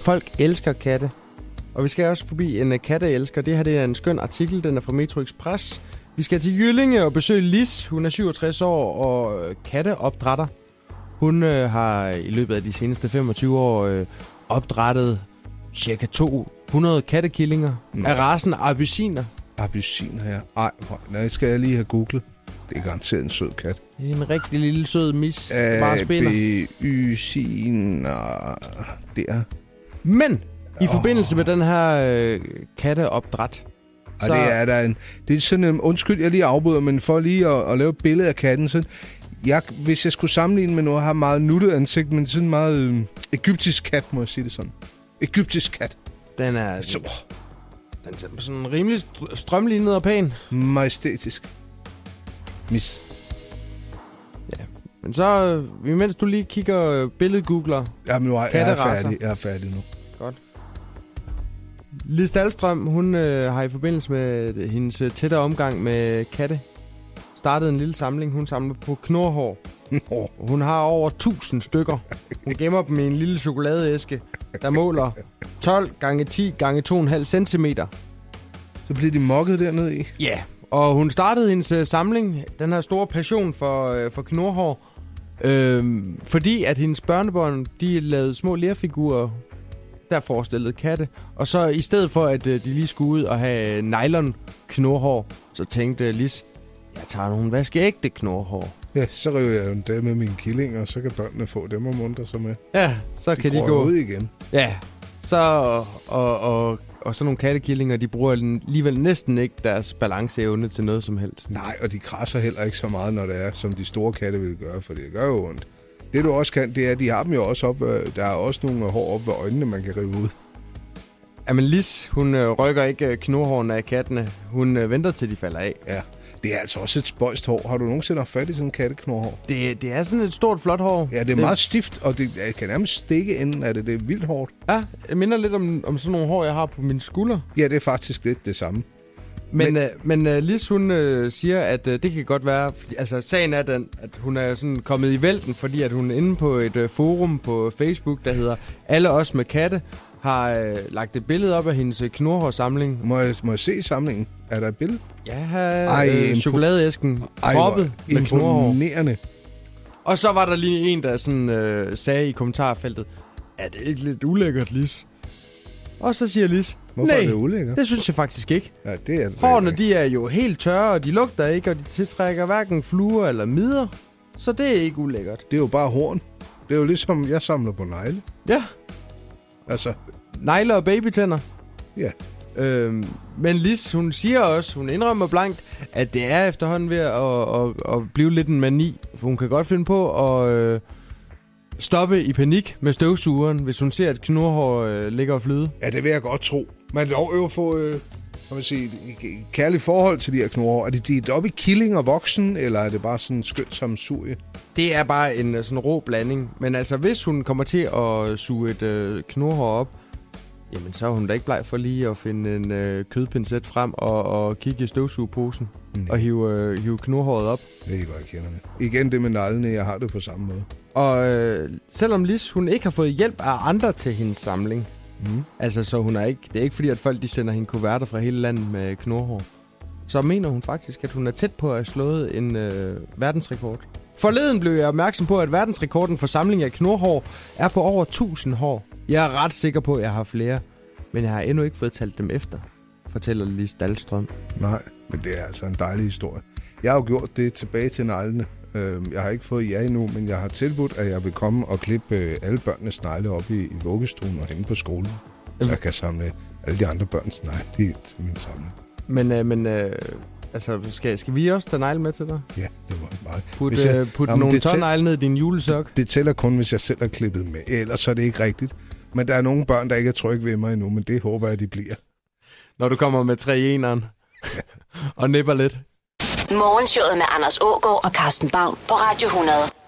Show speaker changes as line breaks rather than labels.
Folk elsker katte. Og vi skal også forbi en øh, katteelsker. Det her det er en skøn artikel, den er fra Metro Express. Vi skal til Jyllinge og besøge Lis. Hun er 67 år og øh, katteopdrætter. Hun øh, har i løbet af de seneste 25 år øh, opdrættet cirka 200 kattekillinger
Nå.
af rasen Abyssiner.
Abyssiner her. Ej, hvor- nej, det skal jeg lige have googlet. Det er garanteret en sød kat.
En rigtig lille sød mis, bare spiller.
Abyssiner. Der.
Men i forbindelse med den her øh, katteopdræt,
Og det er der en... Det er sådan en... Undskyld, jeg lige afbryder, men for lige at, at lave et billede af katten, så... Jeg, hvis jeg skulle sammenligne med noget, har meget nuttet ansigt, men sådan meget øh, egyptisk kat, må jeg sige det sådan. Egyptisk kat.
den er
Så,
den er sådan rimelig str- strømlignet og pæn.
majestætisk. Mis.
Men så, øh, imens du lige kigger øh, billedgoogler,
Jamen, nu er, jeg er
Katteracer.
færdig. Jeg er færdig nu.
Lis Dahlstrøm, hun øh, har i forbindelse med øh, hendes øh, tættere omgang med katte, startet en lille samling. Hun samler på knorhår.
Nå,
Hun har over 1000 stykker. Hun gemmer dem i en lille chokoladeæske, der måler 12 gange 10 gange 2,5 centimeter.
så bliver de mokket dernede i.
Ja, yeah. og hun startede hendes øh, samling, den her store passion for, øh, for knorhår, øh, fordi at hendes børnebørn, de lavede små lærfigurer, der forestillede katte. Og så i stedet for, at øh, de lige skulle ud og have øh, nylon knorhår, så tænkte Lis, jeg tager nogle vaskeægte knorhår.
Ja, så river jeg dem der med mine killinger, og så kan børnene få dem og munter sig med.
Ja, så kan de
går
gå. Mm.
ud igen.
Ja, så og, og, og sådan nogle kattekillinger, de bruger alligevel næsten ikke deres balanceevne til noget som helst.
Nej, og de krasser heller ikke så meget, når det er, som de store katte vil gøre, for det gør jo ondt. Det du også kan, det er, at de har dem jo også op, øh, der er også nogle hår op ved øjnene, man kan rive ud.
Jamen Lis, hun øh, rykker ikke øh, knurhårene af kattene. Hun øh, venter til de falder af.
Ja, det er altså også et spøjst hår. Har du nogensinde haft fat i sådan en katteknorhår?
Det, det er sådan et stort, flot hår.
Ja, det er meget stift, og det jeg kan nærmest stikke enden af det. Det er vildt hårdt.
Ja, jeg minder lidt om, om sådan nogle hår, jeg har på mine skuldre.
Ja, det er faktisk lidt det samme.
Men, men, øh, men øh, Lis, hun øh, siger, at øh, det kan godt være... fordi- Altså, sagen er den, at hun er sådan kommet i vælten, fordi at hun inde på et øh, forum på Facebook, der hedder Alle os med katte, har øh, lagt et billede op af hendes øh, knurhårsamling.
Må jeg, må jeg se samlingen? Er der et billede?
Ja, her
Ej,
er øh,
impo-
chokoladeæsken
hvor
proppet med knurhår.
imponerende.
Og så var der lige en, der sådan, øh, sagde i kommentarfeltet, er det ikke lidt ulækkert, Lis? Og så siger Lis,
Hvorfor
nej,
er det ulækkert?
det synes jeg faktisk ikke.
Ja, det er det.
Hårene, de er jo helt tørre, og de lugter ikke, og de tiltrækker hverken fluer eller midder. Så det er ikke ulækkert.
Det er jo bare horn. Det er jo ligesom, jeg samler på negle.
Ja,
Altså,
negler og babytænder.
ja.
Øhm, men Lis, hun siger også, hun indrømmer blankt, at det er efterhånden ved at, at, at, at blive lidt en mani. For hun kan godt finde på at øh, stoppe i panik med støvsugeren, hvis hun ser, at knurhår øh, ligger og flyde.
Ja, det vil jeg godt tro. Man lov jo at få, øh, kan man sige, et- et kærligt forhold til de her knorre. Er det delt op i killing og voksen, eller er det bare sådan skønt som surie?
Det er bare en øh, sådan rå blanding. Men altså, hvis hun kommer til at suge et øh, knurhår op, jamen så er hun da ikke bleg for lige at finde en øh, kødpincet frem og, og kigge i støvsugeposen
Nej.
og hive, øh, hive knurhåret op.
Det er godt, jeg kender det. Igen det med neglene, jeg har det på samme måde.
Og øh, selvom Lis, hun ikke har fået hjælp af andre til hendes samling,
Mm.
altså så hun er ikke, det er ikke fordi, at folk de sender hende kuverter fra hele landet med knorhår, så mener hun faktisk, at hun er tæt på at have slået en øh, verdensrekord. Forleden blev jeg opmærksom på, at verdensrekorden for samling af knorhår er på over 1000 hår. Jeg er ret sikker på, at jeg har flere, men jeg har endnu ikke fået talt dem efter, fortæller Lis Dahlstrøm.
Nej, men det er altså en dejlig historie. Jeg har jo gjort det tilbage til neglene. Øhm, Jeg har ikke fået ja endnu, men jeg har tilbudt, at jeg vil komme og klippe øh, alle børnenes negle op i, i vuggestuen og henne på skolen. Så jeg kan samle alle de andre børns negle i til min samling.
Men, øh, men øh, altså, skal, skal vi også tage negle med til dig?
Ja, det var meget.
Put,
Hvis jeg-
øh, put
Jamen,
nogle
det tæ-
tårnegle ned i din julesok?
Det tæller kun, hvis jeg selv har klippet med. Ellers er det ikke rigtigt. Men der er nogle børn, der ikke er trygge ved mig endnu, men det håber jeg, de bliver.
når du kommer med 3 eneren og nipper lidt.
Morgenshowet med Anders Ågaard og Carsten Baum på Radio 100.